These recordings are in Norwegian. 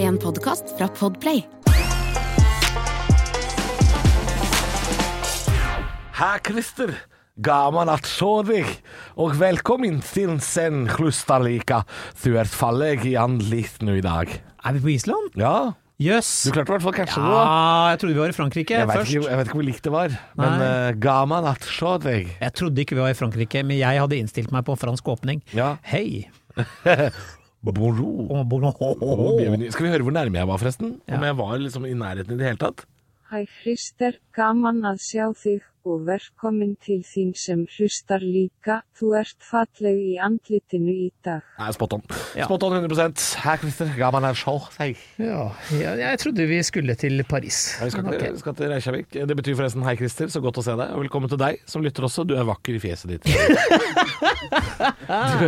en podkast fra Podplay. Herr Christer, gaman att se dig och välkommen till sen Hlustalika. Du är falleg i anlikt nu idag. Er vi på Island? Ja, Jøss. du klarte i hvert fall catche det. da. Ja, jeg trodde vi var i Frankrike Jeg vet, først. ikke, jeg vet ikke hvor likt det var, men Nei. uh, gaman at se deg. Jeg trodde ikke vi var i Frankrike, men jeg hadde innstilt meg på fransk åpning. Ja. Hei! Bonjour. Oh, bon, oh, oh, Og oh. bienvenue. Skal vi høre hvor nærme jeg var, forresten? Ja. Om jeg var liksom i nærheten i det hele tatt? Hæ Hrister, gaman að sjá þig og velkomin til þín sem hlustar líka. Þú ert falleg í andlitinu í dag. Nei, spot on. Ja. Spot on 100 Herr Christer, gaman at se deg. Ja, jeg, jeg trodde vi skulle til Paris. Ja, vi skal, Men til, ok. skal til Reykjavik. Det betyr forresten hei, Christer. Så godt å se deg. Og velkommen til deg som lytter også. Du er vakker i fjeset ditt. du,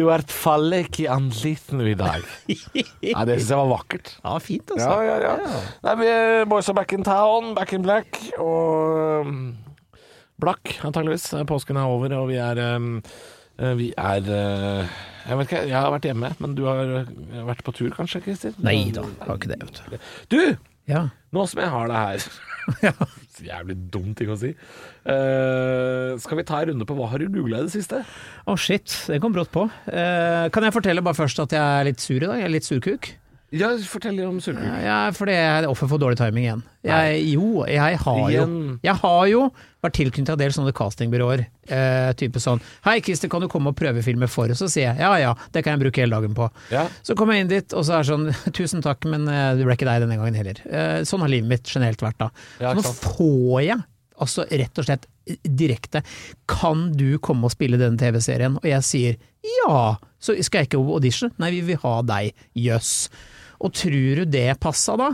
du er et fallek i ansiktet i dag. Nei, det syns jeg var vakkert. Ja, fint, altså. ja, ja. Nei, vi er boys are back in town, back in black. Og um, blakk, antageligvis. Påsken er over, og vi er um, eh, Vi er eh, Jeg vet ikke, jeg har vært hjemme, men du har eh, vært på tur kanskje, Christer? Nei da, har ikke det, vet du. Du! Ja. Nå som jeg har det her Så Jævlig dum ting å si. Eh, skal vi ta en runde på hva har du googla i det siste? Å, shit. Det kom brått på. Eh, kan jeg fortelle bare først at jeg er litt sur i dag? Jeg er litt surkuk. Ja, Fortell litt om surkuk. Ja, fordi jeg er offer for dårlig timing igjen. Jeg, jo, jeg har jo, Igjen. jeg har jo vært tilknyttet en del sånne castingbyråer. Eh, type sånn 'Hei, Christer, kan du komme og prøvefilme for?' oss?» Så sier jeg 'ja ja, det kan jeg bruke hele dagen på'. Ja. Så kommer jeg inn dit, og så er det sånn 'tusen takk, men eh, det ble ikke deg denne gangen heller'. Eh, sånn har livet mitt generelt vært da. Ja, ikke så nå sant. får jeg altså rett og slett direkte 'kan du komme og spille denne TV-serien?' Og jeg sier 'ja', så skal jeg ikke audition? Nei, vi vil ha deg. Jøss. Og tror du det passa da?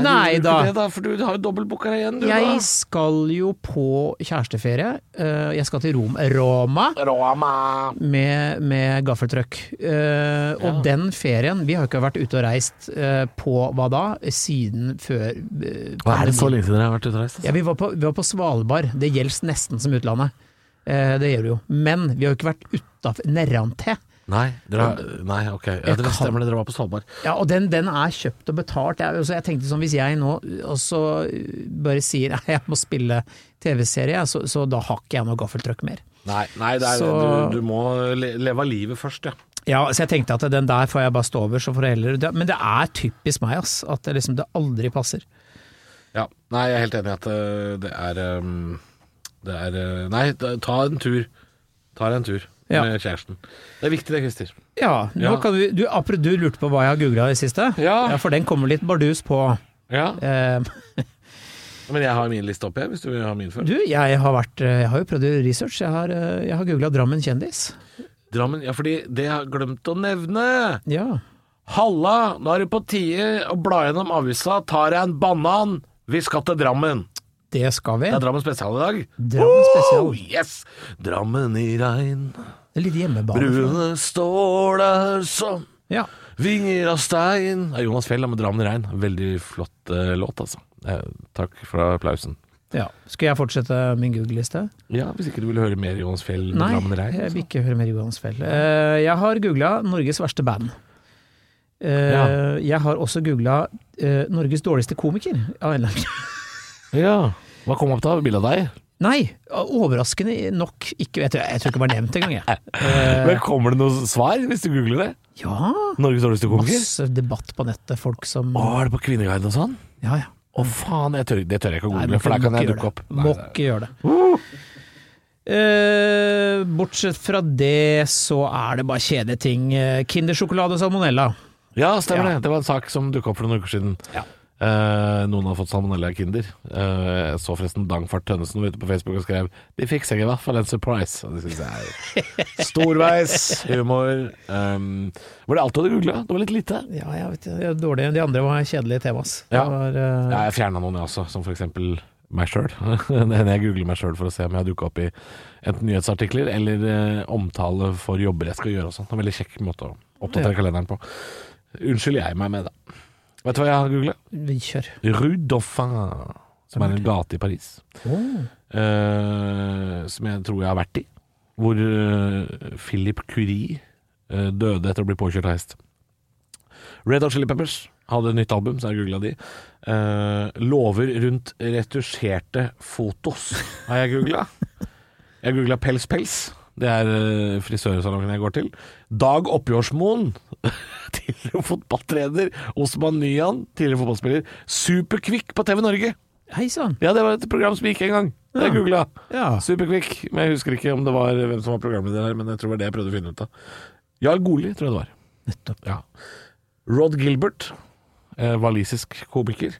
Nei, du gjorde da. ikke Det, da. For du har jo dobbeltbooka deg igjen, du, Jeg skal jo på kjæresteferie. Eh, Jeg skal til Rom, Roma. da. Roma. med, med gaffeltrøkk. Eh, og den ferien Vi har jo ikke vært ute og reist eh, på hva da? Siden før eh, pandemien. lenge siden dere har vært ute og reist? altså? Ja, vi var, på, vi var på Svalbard. Det gjelder nesten som utlandet. Eh, det gjør det jo. Men vi har jo ikke vært utafor Nerranté. Nei, dere har, nei, ok. Ja, Jeg dere kan- stemmer det, dere var på Svalbard. Ja, og den, den er kjøpt og betalt. Jeg, altså, jeg tenkte sånn, hvis jeg nå også bare sier at jeg må spille TV-serie, så, så da har ikke jeg noe gaffeltrøkk mer. Nei, nei det er, Så- du, du må le, leve av livet først, ja. Ja, så jeg tenkte at den der får jeg bare stå over, så får jeg heller det- Men det er typisk meg, ass. At det liksom det aldri passer. ja. Nei, jeg er helt enig i at eh, det er ehm, Det er eh, Nei, da- ta en tur. Ta deg en tur Ja. med kjæresten. Det er viktig det, Christer. Ja, nå Ja. kan vi, du, apro- du lurte på hva jeg har googla i det siste? Ja. For den kommer litt bardus på. Ja. Eh, Men jeg har min liste opp, jeg, hvis du vil ha min først. du, jeg har, vært, eh, jeg har jo prøvd å gjøre research. Jeg har, eh, jeg har googla Drammen kjendis. Drammen, ja, fordi det jeg har glemt å nevne Ja. Halla, nå er det på tide å bla gjennom avisa, ta deg en banan. Vi skal til Drammen. Det skal vi. Det er Drammen spesial i dag. Drammen Oh, spesial. yes! Drammen i regn, Det er litt hjemmebane. bruene står der som Ja. vinger av stein. Det er Jonas Fjell da, med Drammen i regn. Veldig flott eh, låt, altså. Eh, takk for applausen. ja. Skal jeg fortsette min google-liste? Ja, hvis ikke du vil høre mer Jonas Fjell med Nei, Drammen altså. i regn. jeg vil så- ikke høre mer Johans Fjell. Eh, Jeg har googla Norges verste band. Eh, Ja. Jeg har også googla Norges dårligste komiker. av en eller annen- Ja. Hva kom opp da? Bilde av deg? Nei, overraskende nok ikke. Jeg tror, jeg tror ikke det var nevnt engang, jeg. Men kommer det noe svar hvis du googler det? Ja, Norges dårligste komiker? masse debatt på nettet, folk som Å, er det på Kvinneguiden og sånn? Ja, ja. Å faen, jeg tør, det tør jeg ikke å Mm. Nei, google, men for der kan må jeg ikke dukke gjøre opp. det. Må ikke gjøre det. Eh, bortsett fra det, så er det bare kjedelige ting. Eh, Kindersjokolade og salmonella. Ja, stemmer Ja. det. Det var en sak som dukka opp for noen uker siden. Ja. Eh, noen har fått salmonella i Kinder. Eh, jeg så forresten Dangfart Tønnesen var ute på Facebook og skrev 'De fikser i hvert fall en surprise'. Og det synes jeg er Storveis humor. Um, var det alt du hadde googla? Det var litt lite. Ja, jeg vet det. Dårlig. De andre var kjedelige temas. Det Ja. var, eh, Ja, jeg fjerna noen, jeg også, som for eksempel meg sjøl. Det hender jeg googler meg sjøl for å se om jeg har dukka opp i enten nyhetsartikler eller eh, omtale for jobber jeg skal gjøre og sånn. Det er En veldig kjekk måte å oppdatere kalenderen på. Unnskylder jeg meg med, da. Vet du hva jeg har googla? Vi kjør. Rue Dauphin, som er en gate i Paris. Oh. eh, som jeg tror jeg har vært i. Hvor eh, Philip Curie eh, døde etter å bli påkjørt av hest. Red Hot Chili Peppers hadde et nytt album, så jeg googla de. Eh, lover rundt retusjerte fotos har jeg googla. Jeg googla Pels Pels. Det er eh, frisørsalongen jeg går til. Dag Oppgjørsmoen, tidligere fotballtrener. Osman Nyan, tidligere fotballspiller. Superkvikk på TV Norge! Hei sann. Ja, det var et program som gikk en gang. Det Ja. jeg googla. Ja. Superkvikk. Men jeg husker ikke om det var hvem som var programleder her, men jeg tror det var det jeg prøvde å finne ut av. Jarl Goli, tror jeg det var. Nettopp. Ja. Rod Gilbert, eh, walisisk komiker.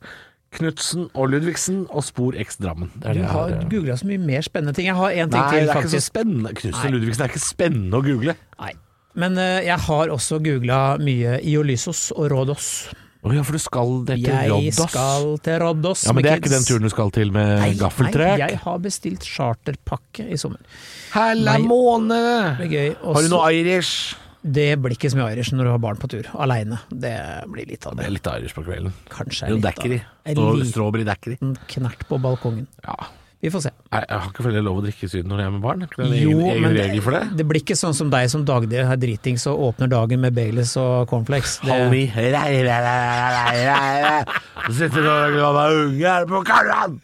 Knutsen og Ludvigsen og Spor X Drammen. Det er Du det jeg har eh, googla så mye mer spennende ting. Jeg har én ting Nei, til, det er ikke så faktisk. spennende. Knutsen og Ludvigsen er ikke spennende å google. Nei. Men eh, jeg har også googla mye Iolysos og Rådos. Å ja, for du skal det til Jeg Rodos. skal til Rådos Ja, men med det er ikke den kids. turen du skal til med Nei, gaffeltrekk. Nei, jeg har bestilt charterpakke i sommer. Hella Nei. måne! Det blir gøy. Og Har du så- noe Irish? Det blir ikke så mye Irish når du har barn på tur, aleine. Det blir litt av Det det. er litt Irish på kvelden. Kanskje Jo, litt daiquiri. av En Strå- liten Strawberry daiquiri. knert på balkongen. Ja. Vi får se. Jeg, jeg har ikke følt lov å drikke i Syden når jeg er med barn. Er ikke det en egen, egen regel for det? det blir ikke sånn som deg som daglig er dritings og åpner dagen med Baileys og cornflakes. Det, Halv ni. Rei, rei, rei, rei, rei, rei, rei. Så sitter du og glad er unge her på Karlan!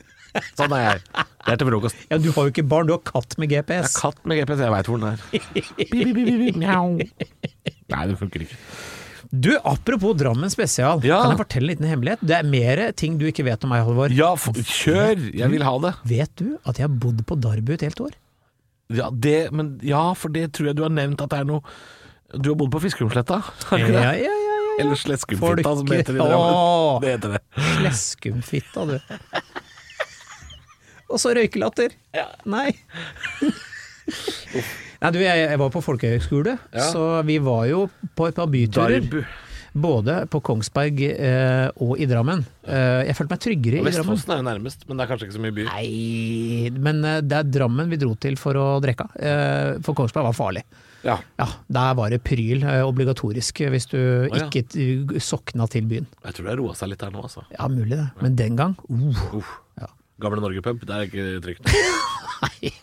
Sånn er jeg. Det er til frokost. ja, du har jo ikke barn, du har katt med Jeg GPS. har katt med GPS, jeg veit hvor den er. Bi, bi, bi, bi, bi, mjau. Nei, det funker ikke. Du, apropos Drammen spesial, Ja. kan jeg fortelle en liten hemmelighet? Det er mer ting du ikke vet om meg, Halvor. Ja, f kjør! Jeg vil ha det. Vet du at jeg har bodd på Darbu et helt år? Ja, det. Men ja, for det tror jeg du har nevnt at det er noe Du har bodd på Fiskerumsletta? har du ikke det? Ja, ja, ja, ja. Eller Sleskumfitta, som Folke- heter det i Drammen. Åh. Det heter det. Sleskumfitta, du. Og så røykelatter. Nei. Nei, du, jeg, jeg var på folkehøyskole, Ja. så vi var jo på et par byturer. Darbu. Både på Kongsberg eh, og i Drammen. Eh, jeg følte meg tryggere i Drammen. Vestfossen er jo nærmest, men det er kanskje ikke så mye by. Nei, men eh, det er Drammen vi dro til for å drikke. Eh, for Kongsberg var farlig. Ja. Ja, der var det pryl eh, obligatorisk hvis du ja. ikke t- sokna til byen. Jeg tror det har roa seg litt her nå, altså. Ja, mulig det. Men den gang, uh, Uff. Ja. Gamle Norge-pub, det er ikke trygt. Nei,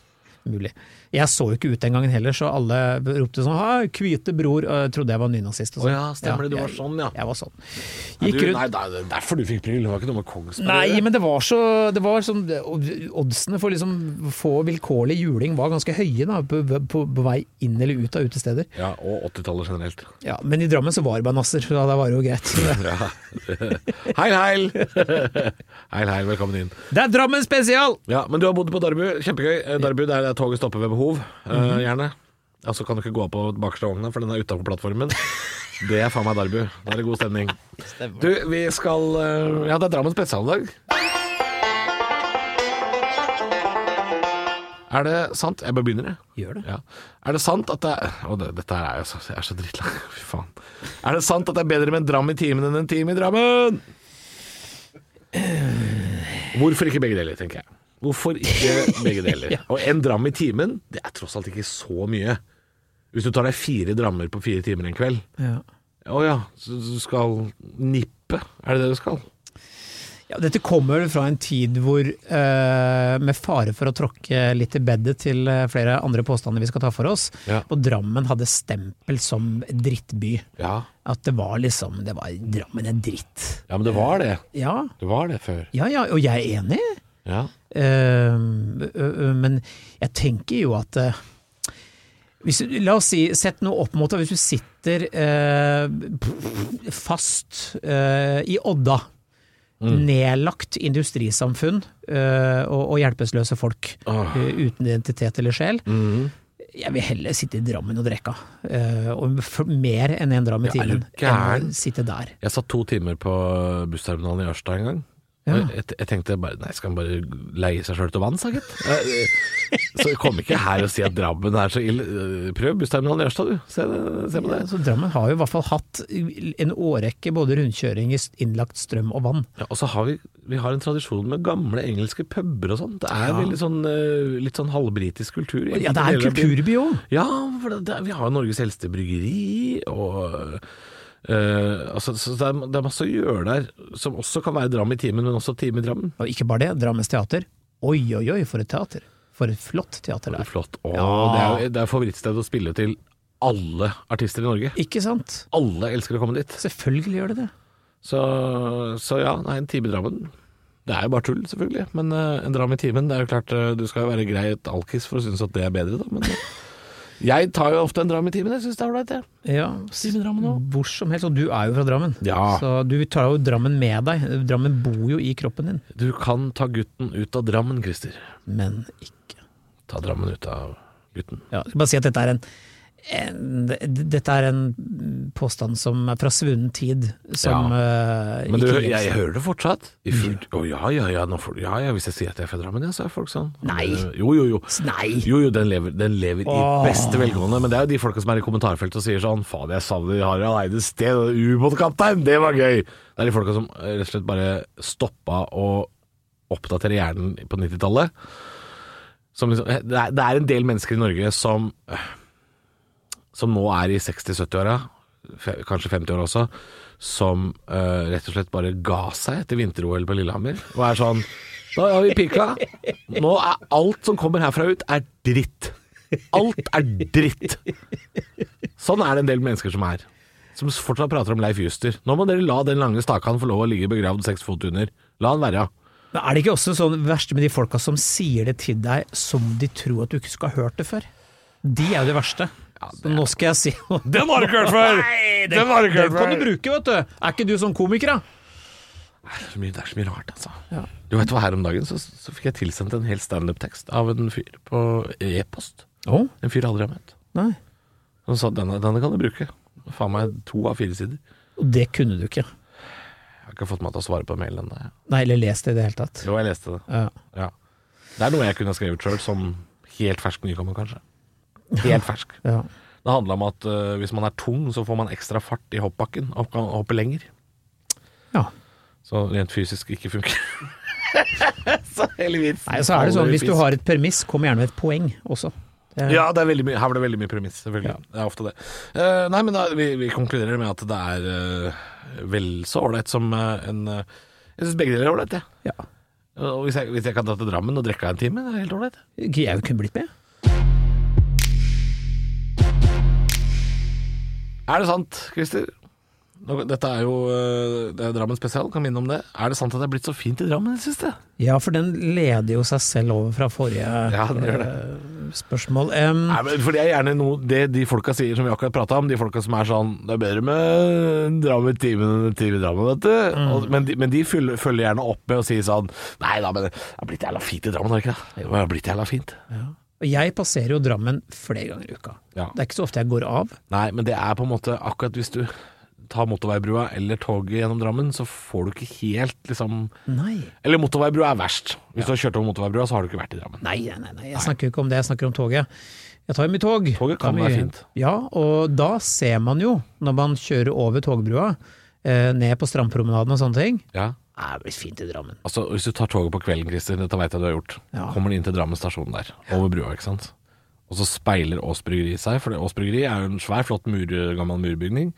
mulig. Jeg så jo ikke ut den gangen heller, så alle ropte sånn «Hei, 'Hvite bror', og jeg trodde jeg var nynazist. Å og sånn. ja, stemmer det. Du jeg- var sånn, ja. Jeg var sånn. Nei, Gikk du, rundt nei, det er derfor du fikk pryl. Det var ikke noe med Kongsberg å Nei, gjøre. men det var så det var sånn, od- Oddsene for liksom få vilkårlig juling var ganske høye da, på, på, på vei inn eller ut av utesteder. Ja, og 80-tallet generelt. Ja, men i Drammen så var det bare nasser, så da var det jo greit. Ja. Heil, heil! Heil, heil, velkommen inn. Det er Drammen spesial! Ja, Men du har bodd på Darbu. Kjempegøy. Eh, Darbu der er toget stopper ved behov, eh, gjerne. Ja, så kan du ikke gå på bakerste vogna, for den er utafor plattformen. Det er faen meg Darbu. Da er det god stemning. Du, vi skal eh, Ja, det er Drammen spesial i dag. Er det sant Jeg bare begynner, jeg. Gjør det. Ja. Er det sant at det er Å, det, dette her er jo så, jeg er så drittlei. Fy faen. Er det sant at det er bedre med en dram i timen enn en time i Drammen? Hvorfor ikke begge deler, tenker jeg. Hvorfor ikke begge deler? Og en dram i timen, det er tross alt ikke så mye. Hvis du tar deg fire drammer på fire timer en kveld Ja. Å ja, så du skal nippe? Er det det du skal? Ja, dette kommer vel fra en tid hvor, eh, med fare for å tråkke litt i bedet til eh, flere andre påstander vi skal ta for oss, Ja. hvor Drammen hadde stempel som drittby. Ja, At det var liksom det var, Drammen er dritt. ja men det var det. Ja, Det var det før. ja, ja og jeg er enig. Ja. Eh, ø, ø, men jeg tenker jo at eh, hvis, du- La oss si, sett noe opp mot det. Hvis du sitter eh, pff, fast eh, i Odda, Mm. nedlagt industrisamfunn eh, og, og hjelpeløse folk Åh. eh, uten identitet eller sjel. Mm. Jeg vil heller sitte i Drammen og drikke, eh, og f- mer enn en dram i Ja, er du timen. Enn gæren? å sitte der. Jeg satt to timer på bussterminalen i Ørsta en gang. Ja. Og Jeg, jeg tenkte bare Nei, skal han bare leie seg sjøl til vanns, da, gitt? Jeg- jeg- Så kom ikke her og si at Drammen er så ille. Eh, Prøv bussterminalen i Ørsta, du. Se, det- se på Ja, det. så Drammen har jo i hvert fall hatt en årrekke både rundkjøring i innlagt strøm og vann. Ja, og så har vi, vi har en tradisjon med gamle engelske puber og sånn. Det er veldig sånn, eh, litt sånn halvbritisk kultur. i Ja, det er en enkelte deler av byen. kulturby òg! Ja, for det, det, vi har jo Norges eldste bryggeri, og eh, altså, så det, er, det er masse å gjøre der, som også kan være Dram i timen, men også Time i Drammen. Og ikke bare det, Drammens teater. Oi, oi, oi, for et teater. For et flott teater Det er der. flott. Å, Ja. det er, jo- det er favorittsted å spille til alle artister i Norge. Ikke sant? Alle elsker å komme dit. Selvfølgelig gjør det det. Så, så ja, nei, en time i Drammen. Det er jo bare tull, selvfølgelig, men eh, en dram i timen Det er jo klart, eh, du skal jo være greit alkis for å synes at det er bedre, da. Men eh, jeg tar jo ofte en dram i timen. Jeg syns det er ålreit, jeg. Ja, Time i Drammen òg. hvor som helst, og du er jo fra Drammen. Ja. Så du tar jo Drammen med deg. Drammen bor jo i kroppen din, Du kan ta gutten ut av Drammen, Christer. men ikke Ta Drammen ut av gutten. ja, jeg skal Bare si at dette er en, en Dette er en påstand som er fra svunnen tid, som eh, Men du, ikke Mm. jeg, hører det fortsatt. I fullt Å ja, ja, ja, nå får, ja, ja. Hvis jeg sier at jeg er fra Drammen, ja, så er folk sånn. Nei. Jo, jo, jo. Nei! Jo, jo, den lever, den lever Åh. i beste velgående, men det er jo de folka som er i kommentarfeltet og sier sånn Fader, jeg savner Harald Eides sted, og ubåtkaptein, det var gøy! Det er de folka som eh, rett og slett bare stoppa å oppdatere hjernen på 90-tallet. Som Liksom, eh, det, er- det er en del mennesker i Norge som eh, Som nå er i 60-70-åra, fe- kanskje 50-åra også, som eh, rett og slett bare ga seg etter vinter-OL på Lillehammer. Og er sånn Da har vi pika. Nå er alt som kommer herfra ut, er dritt. Alt er dritt. Sånn er det en del mennesker som er. Som fortsatt prater om Leif Juster. Nå må dere la den lange stakan få lov å ligge begravd seks fot under. La han være. Men er det ikke også sånn det verste med de folka som sier det til deg som de tror at du ikke skal ha hørt det før? De er jo det verste. Så nå skal jeg si Den har du ikke hørt før! Nei, Den har du ikke hørt den kan før! du bruke, vet du! Er ikke du sånn komiker, da? Det er så mye, det er så mye rart, altså. Du vet hva, her om dagen så, så fikk jeg tilsendt en hel standup-tekst av en fyr på e-post. Å, En fyr jeg aldri har møtt. nei. Han sa denne, denne kan du bruke. Faen meg to av fire sider. Og det kunne du ikke. Jeg har ikke fått meg til å svare på mailen ennå. jeg. Nei, eller lest det i det hele tatt. Jo, jeg leste det. Ja. Ja. Det er noe jeg kunne skrevet sjøl, som helt fersk nykommer, kanskje. Helt fersk. Ja. Det handla om at eh, hvis man er tung, så får man ekstra fart i hoppbakken og kan hoppe lenger. ja. Så rent fysisk ikke funker. så hele vitsen Nei, så er det faller sånn, i hvis du fisk. har et permiss, kom gjerne med et poeng også. Det er- Ja, det er veldig mye, her var det veldig mye premiss, selvfølgelig. Det er ofte det. Eh, nei, men da, vi, vi konkluderer med at det er eh, vel så ålreit som eh, en eh, Jeg syns begge deler er ålreit, jeg. ja. Og Hvis, jeg- hvis jeg kan dra til Drammen og drikke en time, det er helt ålreit. Jeg kunne blitt med. Er det sant, Christer? Nå- Dette er jo øh, det er Drammen spesial, kan minne om det. Er det sant at det er blitt så fint i Drammen i det siste? Ja, for den leder jo seg selv over fra forrige Ja, den gjør det. eh, spørsmål. Em, Nei, men for Det er gjerne noe det de folka sier som vi akkurat prata om. De folka som er sånn Det er bedre med en dram i timen enn en time i Drammen, vet du. Og, men de, men de følger, følger gjerne opp med å si sånn Nei da, men det har blitt jævla fint i Drammen, har det ikke det? Det har blitt jævla fint. Og jeg passerer jo Drammen flere ganger i uka. Ja. Det er ikke så ofte jeg går av. Nei, men det er på en måte akkurat hvis du tar motorveibrua eller toget gjennom Drammen, så får du ikke helt liksom Nei. Eller motorveibrua er verst. Hvis du har kjørt over motorveibrua, så har du ikke vært i Drammen. Nei, nei, nei, jeg snakker jo ikke om det, jeg snakker om toget. Jeg tar jo mye tog. Toget kan Det er mye- være fint. Ja, og da ser man jo, når man kjører over togbrua, eh, ned på strandpromenaden og sånne ting, Ja. det er blitt fint i Drammen. Altså, Hvis du tar toget på kvelden, Christer, dette vet jeg du har gjort, Ja. kommer du inn til Drammen stasjon der, over brua, ikke sant. Og så speiler Ås bryggeri seg, for det- Ås bryggeri er jo en svær, flott mur, eh, gammel murbygning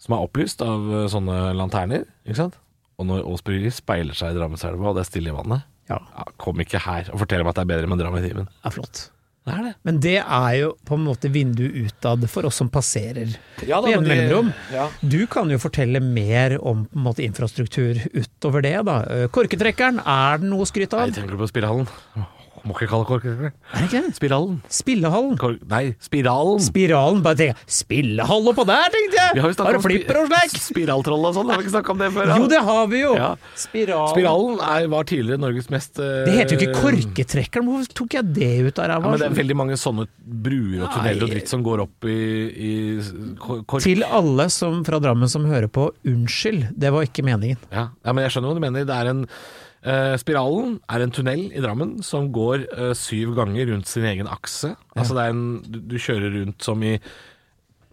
som er opplyst av eh, sånne lanterner, ikke sant. Og når Ås bryggeri speiler seg i Drammenselva, og det er stille i vannet, Ja, ja, kom ikke her og fortell meg at det er bedre med Dram i timen. det er flott. Det er det. Men det er jo på en måte vinduet utad for oss som passerer. Ja da, Med men det- mellomrom. ja. Du kan jo fortelle mer om på en måte, infrastruktur utover det. da. Eh, Korketrekkeren, er den noe å skryte av? Nei, tenker du på Spiralen? Åh, Må ikke kalle det kork. Er det ikke det? Spiralen. Spillehallen. Kork. Nei, Spiralen. Spiralen. Bare tenk, spillehall oppå der, tenkte jeg! Vi har jo snakket Bare om spi- flipper og slik! Spiraltroll og sånn, har vi ikke snakka om det før? Jo, det har vi jo! Ja. Spiralen. Spiralen er, var tidligere Norges mest eh, Det heter jo ikke korketrekkeren, hvorfor tok jeg det ut av Ja, ræva? men det er veldig mange sånne bruer og tunneler og Nei. dritt som går opp i, i s- kor- kork. Til alle som, fra Drammen som hører på, unnskyld, det var ikke meningen. Ja. ja, men jeg skjønner hva du mener. Det er en eh, Spiralen er en tunnel i Drammen som går eh, syv ganger rundt sin egen akse. Altså det er en du, du kjører rundt som i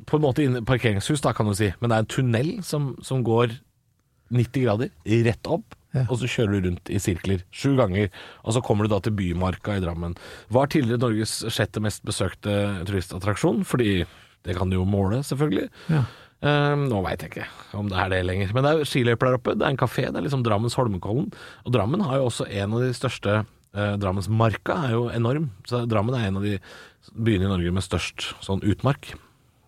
På en måte inne parkeringshus, da, kan du si. Men det er en tunnel som, som går 90 grader rett opp. Og så kjører du rundt i sirkler sju ganger, og så kommer du da til Bymarka i Drammen. Var tidligere Norges sjette mest besøkte turistattraksjon, fordi det kan du jo måle, selvfølgelig. Ja. Ehm, nå veit jeg ikke om det er det lenger. Men det er skiløyper der oppe, det er en kafé, det er liksom Drammens Holmenkollen. Og Drammen har jo også en av de største eh, Drammensmarka er jo enorm. Så Drammen er en av de byene i Norge med størst sånn utmark.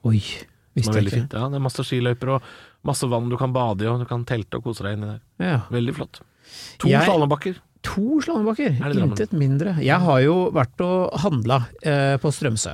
Oi, Som visste er jeg veldig ikke. fint. Ja, det er masse skiløyper og Masse vann du kan bade i, og du kan telte og kose deg inni der. Ja. Veldig flott. To Jeg- slalobakker. To slalåmbakker, Er det Drammen? intet mindre. Jeg har jo vært og handla eh, på Strømsø.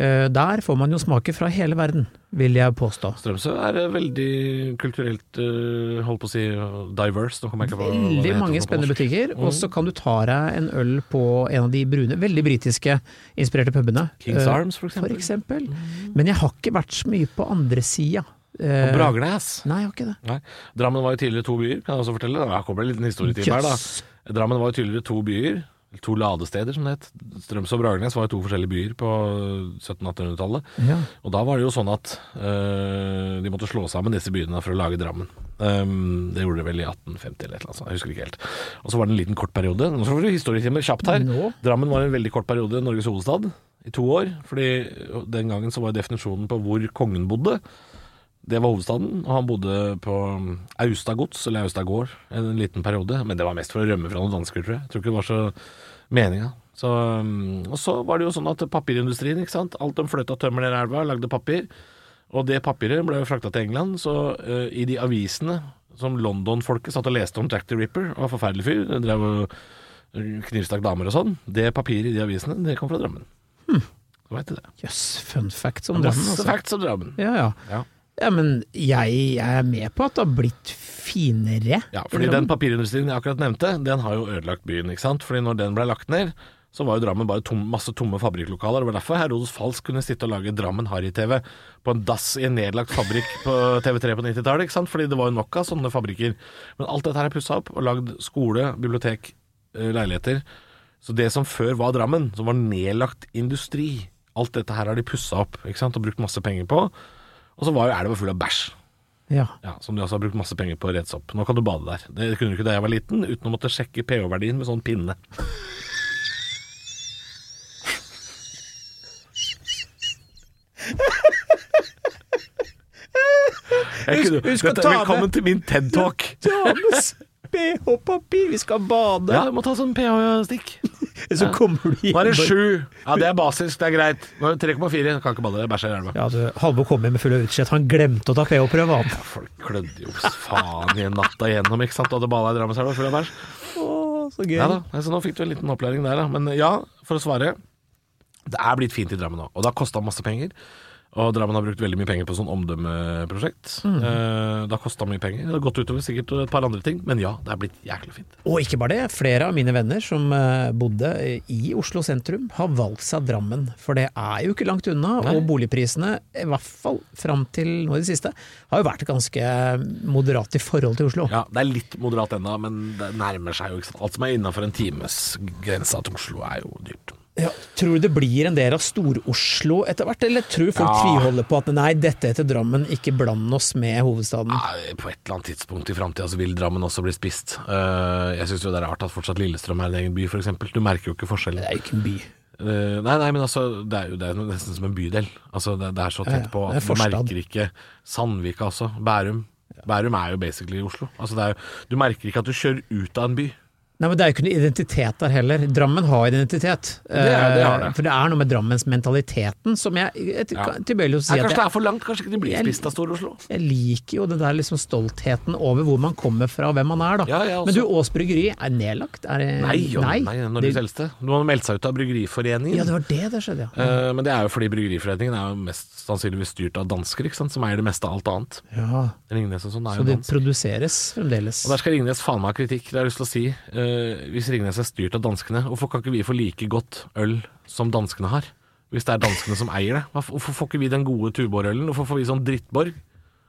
Eh, der får man jo smake fra hele verden, vil jeg påstå. Strømsø er eh, veldig kulturelt, eh, holdt på å si, eh, diverse. Nå kommer jeg ikke på hva det Veldig heter mange på spennende norsk. Mm. butikker, og så kan du ta deg en øl på en av de brune, veldig britiske inspirerte pubene. Kings Eh, Arms, for For eksempel. eksempel. Men jeg har ikke vært så mye på andre sida. Eh, Og Bragernes. Nei, jeg har ikke det. Nei. Drammen var jo tidligere to byer, kan jeg også fortelle. Her kommer det en liten historietime her, Jøss. da. Drammen var jo tidligere to byer, eller to ladesteder som det het. Strømsø og Bragernes var jo to forskjellige byer på 1700-1800-tallet. Ja. Og da var det jo sånn at øh, de måtte slå sammen disse byene for å lage Drammen. Ehm, det gjorde de vel i 1850 eller et eller annet sånt, jeg husker ikke helt. Og så var det en liten kort periode. Nå får du historietime kjapt her. Nå? Drammen var en veldig kort periode Norges hovedstad i to år. Fordi den gangen så var definisjonen på hvor kongen bodde, det var hovedstaden, og han bodde på um, Austagods, eller Austagård, en liten periode. Men det var mest for å rømme fra noen dansker, tror jeg. Jeg tror ikke det var så meninga. Så, um, og så var det jo sånn at papirindustrien, ikke sant. Alt de fløt av tømmer ned i elva, lagde papir. Og det papiret ble jo frakta til England, så eh, i de avisene som London-folket satt og leste om Jack the Ripper, og var forferdelig fyr, drev og uh, knivstakk damer og sånn, det papiret i de avisene, det kom fra Drammen. Hmm. Veit du det. Jøss, fun facts Hm. om Drammen. Masse Altså. facts om Drammen. Ja, ja. Ja. ja, men jeg er med på at det har blitt finere. Ja, fordi den papirindustrien jeg akkurat nevnte, den har jo ødelagt byen, ikke sant? Fordi når den ble lagt ned, så var jo Drammen bare tom, masse tomme fabrikklokaler. Det var derfor Herodes Falsk kunne sitte og lage Drammen Harry-TV på en dass i en nedlagt fabrikk på TV3 på 90-tallet, ikke sant? Fordi det var jo nok av sånne fabrikker. Men alt dette her er pussa opp og lagd skole, bibliotek, eh, leiligheter. Så det som før var Drammen, som var nedlagt industri, alt dette her har de pussa opp, ikke sant? Og brukt masse penger på. Og så var jo elva full av bæsj. Ja. Ja, Som de også har brukt masse penger på å rense opp. Nå kan du bade der. Det kunne du ikke da jeg var liten, uten å måtte sjekke pH-verdien med sånn pinne. Jeg kunne, Husk- husk å Dette er ta med- velkommen til min TED-talk. Dames BH-papir, vi skal bade! Ja, du må ta sånn pH-stikk. Så kommer du Nå er det bare- sju. Ja, det er basisk, det er greit. Nå er det 3,4. Kan ikke bade, jeg bæsjer i elva. Ja, du, Halvor kom hjem med full av utslett. Han glemte å ta pH-prøve, han. Folk klødde jo faen i natta igjennom, ikke sant. Du hadde bada i Drammenselva full av bæsj. Å, så gøy. Ja da, altså, nå fikk du en liten opplæring der, da. Men eh, ja, for å svare. Det er blitt fint i Drammen nå, og det har kosta masse penger. Og Drammen har brukt veldig mye penger på sånn omdømmeprosjekt. Eh, Det har kosta mye penger. Det har gått utover sikkert et par andre ting, men ja, det er blitt jæklig fint. Og ikke bare det, flere av mine venner som eh, bodde i Oslo sentrum, har valgt seg Drammen. For det er jo ikke langt unna, Nei. og boligprisene, i hvert fall fram til nå i det siste, har jo vært ganske moderat i forhold til Oslo. Ja, Det er litt moderat ennå, men det nærmer seg jo. ikke sant? Alt som er innafor en times grensa til Oslo er jo dyrt. Ja, tror du det blir en del av Stor-Oslo etter hvert, eller tror folk Ja. tviholder på at nei, dette heter Drammen, ikke bland oss med hovedstaden? Ja, på et eller annet tidspunkt i framtida så vil Drammen også bli spist. Eh, jeg syns jo det er rart at fortsatt Lillestrøm er en egen by, f.eks. Du merker jo ikke forskjellen. Det er jo ikke en by. Eh, nei, nei, men altså, det er jo det er nesten som en bydel. Altså, det, det er så Ja, tett ja. på Det at er du forstad. merker ikke Sandvika også. Bærum. Bærum er jo basically Oslo. Altså, det er jo, du merker ikke at du kjører ut av en by. Nei, men Det er jo ikke noe identitet der heller. Drammen har identitet. er- det har det. Eh, For det er noe med drammensmentaliteten som jeg, jeg Ja. kan- tilbøyelig å si Nei, at kanskje jeg, det er for langt, kanskje ikke de blir Jeg- spist av Stor-Oslo. jeg liker jo den der liksom stoltheten over hvor man kommer fra og hvem man er. da. Ja, jeg også. men du, Ås bryggeri er nedlagt? Er det, Nei, jo, nei, Norges det, eldste. Du har meldt seg ut av Bryggeriforeningen. ja, det var det det skjedde, ja. Eh, men det er jo fordi Bryggeriforeningen er jo mest sannsynligvis styrt av dansker, ikke sant? som eier det meste av alt annet. ja. Ringnes og sånn er Så jo det dansk. produseres fremdeles. Og der skal Ringnes faen meg ha kritikk, det har jeg lyst til å si. Eh, hvis Ringnes er styrt av danskene, hvorfor kan ikke vi få like godt øl som danskene har? Hvis det er danskene som eier det. Hva- Hvorfor får ikke vi den gode Tuborg-ølen? Hvorfor får vi sånn drittborg?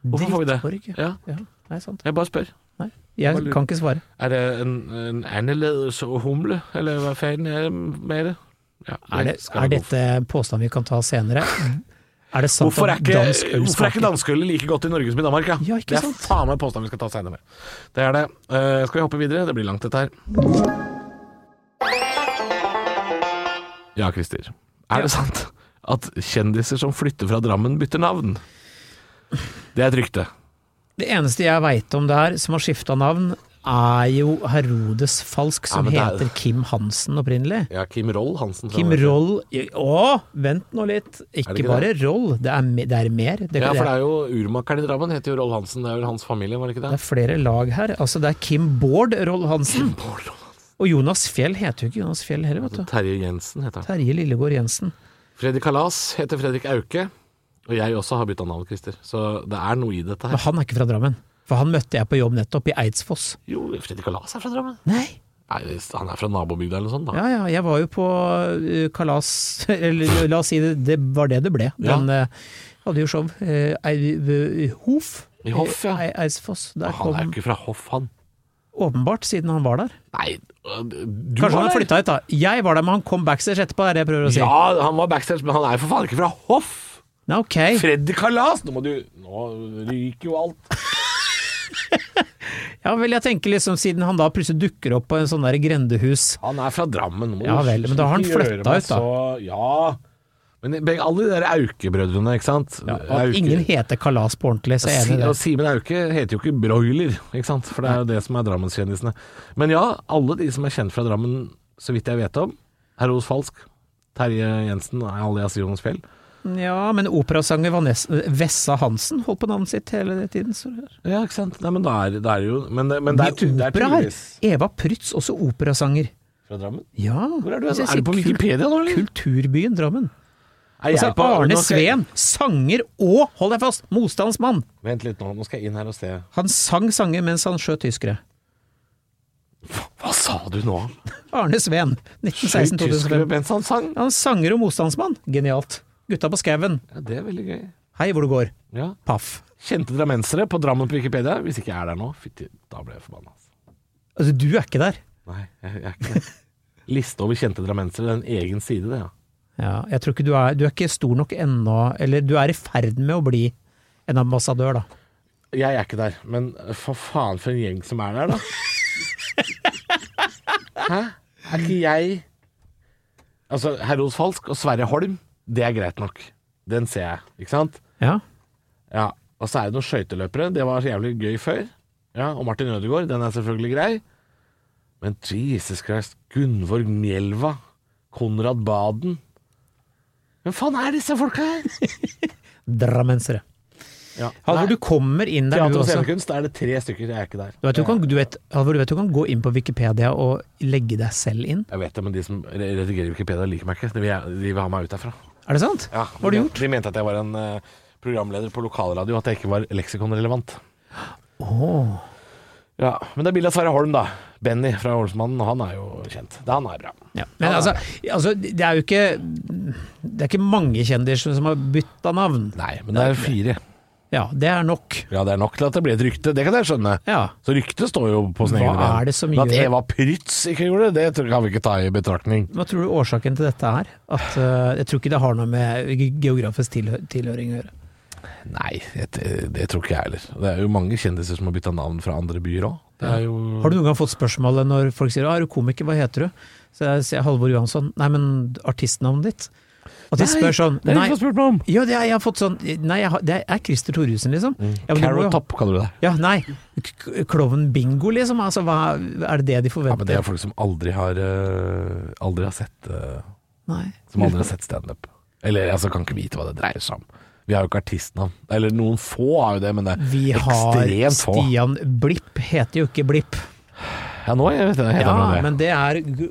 Hvorfor får vi det? Drittborg, ja. Ja, ja. Nei, sant. jeg bare spør. Nei. Jeg kan ikke svare. Er det en, en annerledes humle, eller hva faen er det med det? Ja, Er, det, skal er jeg gå for. dette en påstand vi kan ta senere? Er det sant Hvorfor er at dansk ikke, øl hvorfor er ikke smaker danskølet like godt i Norge som i Danmark? Ja, Ja, ikke det er sant? faen meg påstand vi skal ta senere. Det er det. Eh, skal vi hoppe videre? Det blir langt, dette her. Ja, Christer. Er det sant at kjendiser som flytter fra Drammen, bytter navn? Det er et rykte. Det eneste jeg veit om det her, som har skifta navn, er jo Herodes Falsk, som men det er- heter Kim Hansen opprinnelig. Ja, Kim Roll Hansen. tror Kim jeg det heter. Roll Å, vent nå litt! Ikke, ikke bare Roll, det er, me- det er mer. Det, Ja, for det det, er jo urmakeren i Drammen heter jo Roll Hansen. Det er vel hans familie, var det ikke er, det? flere lag her. Altså, det er Kim Bård Roll Hansen. Bård Roll Hansen. Og Jonas Fjell heter jo ikke Jonas Fjell heller, vet du. Terje Jensen heter han. Terje Lillegård Jensen. Fredrik Kalas heter Fredrik Auke. Og jeg også har bytta navn, Christer. Så det er noe i dette Men her. han er ikke fra Drammen. For han møtte jeg på jobb nettopp, i Eidsfoss. Jo, Fredrik Kalas er fra Drammen. Nei! Nei, det- han er fra nabobygda eller noe sånt, da. Ja ja, jeg var jo på eh, kalas Eller la oss si det, det var det det ble. Ja. Den eh, hadde jo show. eh, Ei- eh, Hof. I Hoff, ja. Ei- Eidsfoss. Der Han er jo kom ikke fra Hoff, han. åpenbart, siden han var der. Nei, øh, du Kanskje var han har der. flytta hit, da. Jeg var der, men han kom backstage etterpå, er det jeg prøver å si. Ja, han var backstage, men han er jo for faen ikke fra Hoff! Nei, ok. Freddy Kalas! Nå må du Nå ryker jo alt. Ja vel, jeg tenker liksom, siden han da plutselig dukker opp på en sånn der grendehus Han er fra Drammen. nå må Ja du vel, men da har han ikke gjøre flytta meg ut, da. Så, ja. Men begge, alle de der Auke-brødrene, ikke sant? og at Ingen heter kalas på ordentlig, så er jeg enig Si- i det. og Simen Auke heter jo ikke Broiler, ikke sant? For det er jo det som er Drammenskjendisene. Men ja, alle de som er kjent fra Drammen, så vidt jeg vet om. Heros Falsk, Terje Jensen alias Jonas Fjell. Ja, men operasanger Vanessa, Vessa Hansen holdt på navnet sitt hele tiden. Så. Ja, ikke sant. Nei, men da er, da er det jo Men, det- men det er, Mye ty- det er opera her. tydeligvis Eva Prytz, også operasanger. fra Drammen. Ja. Hvor er du? Jeg Altså? synes Er du på kul- Wikipedia nå, eller? Kulturbyen Drammen. Er Altså jeg på- Arne nå skal jeg- Sveen, sanger og, hold deg fast, motstandsmann. Vent litt nå, nå skal jeg inn her og se. Han sang sanger mens han skjøt tyskere. Hva sa du nå? Arne Sveen, Sju 1916 tyskere 2005 mens han sang? Han sanger og motstandsmann. Genialt. Gutta på skauen. Ja, det er veldig gøy. Hei, hvor du går. Ja. Paff. Kjente drammensere på Drammen på Wikipedia. Hvis ikke jeg er der nå, fytti, da ble jeg forbanna. altså. Altså, du er ikke der. Nei, jeg, jeg er ikke det. Liste over kjente drammensere, det er en egen side, det, ja. Ja, jeg tror ikke du er Du er ikke stor nok ennå, eller du er i ferd med å bli en ambassadør, da. Jeg er ikke der, men eh, for faen for en gjeng som er der, da. Hæ? Er ikke jeg Altså, Herodes Falsk og Sverre Holm, det er greit nok. Den ser jeg, ikke sant? Ja. Ja, og så er det noen skøyteløpere. Det var så jævlig gøy før. Ja, og Martin Ødegaard, den er selvfølgelig grei. Men Jesus Christ, Gunvor Mjelva, Konrad Baden Hvem faen er disse folka her? Drammensere. Ja. Halvor, Nei, du kommer inn der, Teater du og også. scenekunst, da er det tre stykker. Jeg er ikke der. Du vet, du, kan, du, vet, Halvor, du vet du kan gå inn på Wikipedia og legge deg selv inn? Jeg vet det, men de som redigerer Wikipedia, liker meg ikke. De vil, jeg- de vil ha meg ut derfra. Er det sant? Ja, Hva har du de- gjort? De mente at jeg var en eh, programleder på lokalradio, at jeg ikke var leksikonrelevant. Åh. Ja, Men det er bilde av Sverre Holm, da. Benny fra Holsmannen, og han er jo kjent. Han er bra. Ja. Men altså, altså, det er jo ikke Det er ikke mange kjendiser som har bytta navn. Nei, men det er fire. Ja, det er nok. Ja, det er nok til at det blir et rykte. Det kan jeg skjønne. Ja. Så ryktet står jo på sin Hva egen ben. er det som Men at gjør- Eva Prytz ikke gjorde det, det tror- kan vi ikke ta i betraktning. Hva tror du årsaken til dette er? At, eh, jeg tror ikke det har noe med ge- geografisk tilhø tilhøring å gjøre. Nei, det, det tror ikke jeg heller. Det er jo mange kjendiser som har bytta navn fra andre byer òg. Det er jo Har du noen gang fått spørsmålet når folk sier «Å, 'er du komiker, hva heter du?' Så jeg sier Halvor Johansson. Nei, men artistnavnet ditt? Og de spør sånn Nei, det er Nei, ikke spurt meg om. ja, det er, jeg har fått sånn Nei, jeg har, det er Christer Thoresen, liksom. Ja, men du må Carrot jo- Top kaller du det. Ja, nei. k- Klovn bingo, liksom. Altså, hva, er det det de Ja, men forventer? det er folk som aldri har eh, Aldri har sett eh, Nei. Som aldri har sett standup. Eller altså, kan ikke vite hva det dreier seg om. Vi har jo ikke artistnavn. Eller noen få har jo det, men det er Vi har ekstremt få. Stian Blipp, heter jo ikke Blipp. Ja, nå jeg vet jeg, heter han jo Ja, det. men det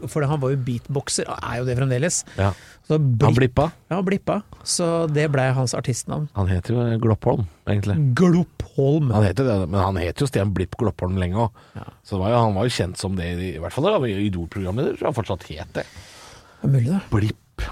er For han var jo beatboxer, og er jo det fremdeles. Ja. Så Han Blipp, blippa. ja, Blippa. Så det blei hans artistnavn. Han heter jo Gloppholm, egentlig. Gloppholm. Han heter det, men han het jo Stian Blipp Gloppholm lenge òg. Så det var jo, han var jo kjent som det, i hvert fall da han var Idol-programleder. så Han fortsatt het det. Det er Mulig, det. Blipp.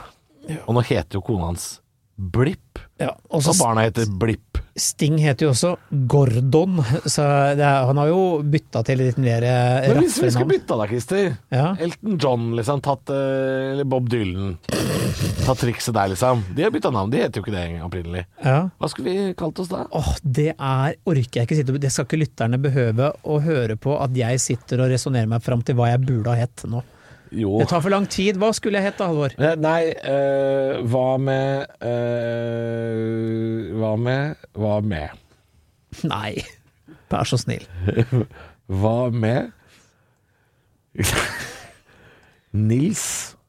Og nå heter jo kona hans Blipp, Ja, og så og barna heter Blipp. Sting heter jo også Gordon, så det er, han har jo bytta til litt mer eh, Men hvis vi raffere skulle navn. bytta da, Christer. Ja. Elton John, liksom. Tatt, eh, eller Bob Dylan. Tatt trikset der, liksom. De har bytta navn. De heter jo ikke det opprinnelig. Ja. Hva skulle vi kalt oss da? Åh, det er Orker jeg ikke sitte Det skal ikke lytterne behøve å høre på at jeg sitter og resonnerer meg fram til hva jeg burde ha hett nå. Jo Det tar for lang tid. Hva skulle jeg hett da, Halvor? Eh, Nei, eh, hva med eh, Hva med Hva med Nei, vær så snill. Hva med Nils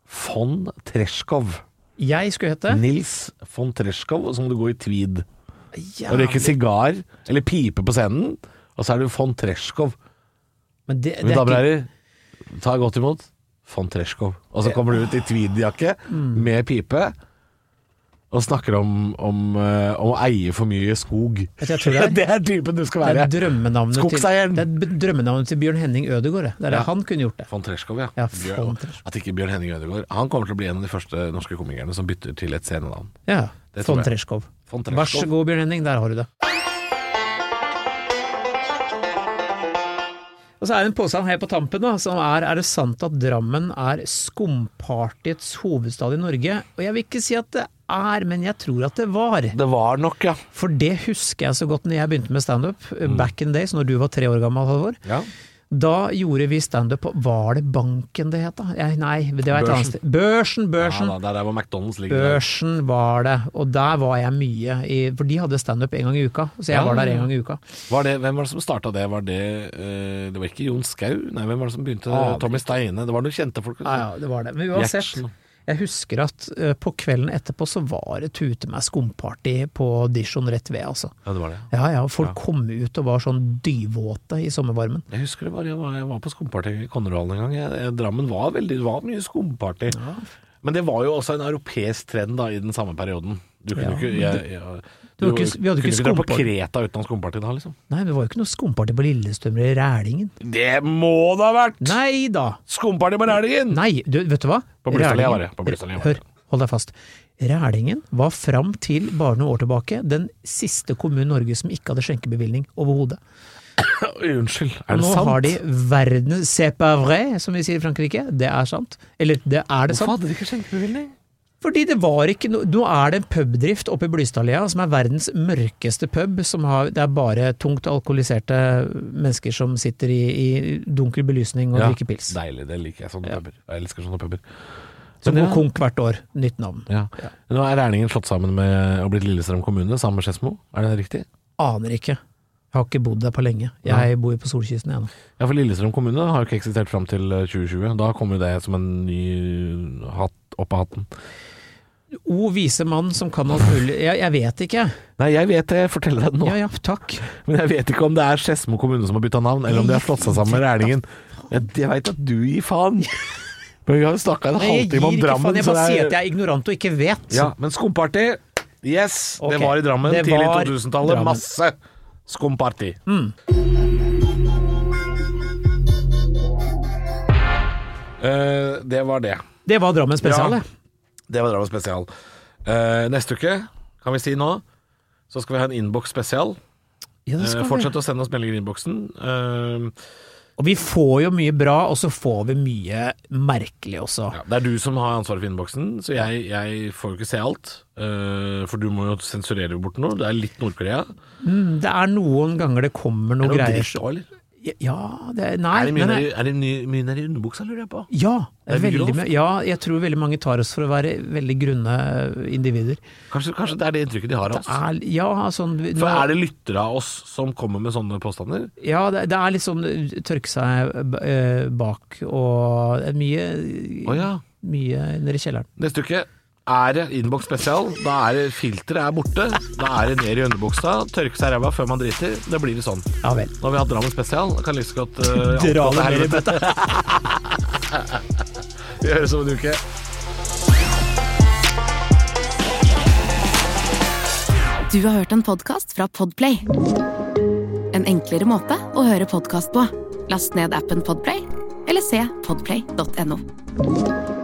von Treskov. Jeg skulle hete Nils von Treskov, og så må du gå i tweed. Og røyke Jævlig. sigar, eller pipe på scenen, og så er du von Treskov. Men det, det Mine damer og er ikke, herrer, ta godt imot von Treskov. Og så kommer du ut i tweedjakke Mm. med pipe og snakker om, om, eh, om å eie for mye skog. Vet du, jeg tror det er- typen du skal det være. er drømmenavnet til, Skogseieren. det er b- drømmenavnet til Bjørn Henning Ødegaard. det. Det er det han kunne gjort det. Von Treskov, ja. Ja, Bjørn- von Treskov. At ikke Bjørn Henning Ødegaard Han kommer til å bli en av de første norske komikerne som bytter til et scenenavn. Ja, Det tror Von jeg. Treskov. Von Treskov. Vær så god, Bjørn Henning, der har du det. Og så er det en påstand her på tampen da, som er er det sant at Drammen er skumpartiets hovedstad i Norge? Og jeg vil ikke si at det er, men jeg tror at det var. Det var nok, ja. For det husker jeg så godt når jeg begynte med standup, eh, back in the days, når du var tre år gammel, Halvor. ja. Da gjorde vi standup på Var det Banken det het, da? Jeg, nei, det var et Børsen. annet sted. Børsen, Børsen. da, det er der hvor McDonald's ligger. Børsen var det, og der var jeg mye, i, for de hadde standup en gang i uka. Så jeg Ja. var der en gang i uka. Var det, hvem var det som starta det? Var det, eh, det var ikke Jon Skau? Nei, hvem var Ah, det som begynte? Aner Tommy Steine? Det var noen kjente folk. Ja, ja, det var det. Men uansett, Gjertsen. jeg husker at eh, på kvelden etterpå så var det tute meg skumparty på Dishon rett ved, altså. Ja, det var det. Ja ja, og folk kom ut og var sånn dyvåte i sommervarmen. Jeg husker det bare, jeg var, jeg var på skumparty i Konradhallen en gang. Jeg, jeg, Drammen var veldig, det var mye skumparty. Men det var jo også en europeisk trend da, i den samme perioden. Du kunne Ja, ikke, jeg, jeg, Du hadde ikke- vi hadde kunne ikke dra på skumparty. Kreta uten skumparty da, liksom. Nei, det var jo ikke noe skumparty på Lillestrøm eller Rælingen. Det må det ha vært! Nei da! Skumparty på Rælingen! Nei, du, vet du hva? På Blystadlia Rælingen- var det, på Blystadlia var det. Hør, hold deg fast. Rælingen var fram til bare noen år tilbake den siste kommunen i Norge som ikke hadde skjenkebevilgning overhodet. Unnskyld, er det Nå sant? har de verdens C'est pas vrai, som vi sier i Frankrike. Det er sant. Eller det er det Hvorfor sant. hadde de ikke skjenkebevilgning? Fordi det var ikke noe Nå er det en pubdrift oppe i Blystadlia som er verdens mørkeste pub. Som har, det er bare tungt alkoholiserte mennesker som sitter i, i dunkel belysning og drikker pils. Deilig, det liker jeg. Sånne puber. Jeg elsker sånne puber. Som Men går ja. konk hvert år. Nytt navn. Ja. Nå er Rælingen slått sammen med og blitt Lillestrøm kommune, sammen med Skedsmo. Er det riktig? Aner ikke. Jeg har ikke bodd der på lenge. Jeg bor jo på solkysten jeg nå. Ja, for Lillestrøm kommune har jo ikke eksistert fram til eh, 2020. Da kommer jo det som en ny hatt opp av hatten. O vise mann som kan alt mulig Jeg, jeg vet ikke. Nei, jeg vet det, jeg forteller deg det nå. Ja ja, takk. Men jeg vet ikke om det er Skedsmo kommune som har bytta navn, eller om de har slått seg sammen med Rælingen. Jeg, jeg veit at du gir faen. Men vi har jo snakka en Nei, jeg gir halvtime om ikke faen. Drammen, Jeg bare sier at jeg er ignorant og ikke vet. Ja, men skumparty, yes, Ok. det var i Drammen Det tidlig var 2000-tallet. Drammen. Mm. Masse skumparty. Eh, det var det. Det var Drammen spesial, Ja. det. Det var Drammen spesial. Eh, neste uke, kan vi si nå, så skal vi ha en innboks spesial. Ja, det Eh, skal vi. fortsett å sende oss meldinger i innboksen. Eh, Og vi får jo mye bra, og så får vi mye merkelig også. ja, det er du som har ansvaret for innboksen, så jeg, jeg får jo ikke se alt. eh, for du må jo sensurere bort noe. Det er litt Nord-Korea. Er Mm, Det er noen ganger det kommer det noe noe greier dritt også, eller? Ja, det Nei. Er det mye men- nedi- er det ny- mye nedi underbuksa, lurer jeg på? ja, Er det veldig, grovt? mye- ja, jeg tror veldig mange tar oss for å være veldig grunne individer. Kanskje, kanskje det er det inntrykket de har av Det oss? er, ja, sånn, For er det lyttere av oss som kommer med sånne påstander? ja, det, det er litt sånn tørke seg eh, bak og det er mye, Å ja. mye nede i kjelleren. Neste uke er det innboks spesial. Da er det filteret er borte. Da er det ned i underbuksa, tørke seg i ræva før man driter. Det blir det sånn. Ja vel. Nå har vi hatt Drammen spesial. Jeg Kan like så godt eh, Dra avslutte det her. ned i bøtta. Vi høres om en uke. Du har hørt en podcast fra Podplay En enklere måte å høre podcast på Last ned appen Podplay Eller se podplay.no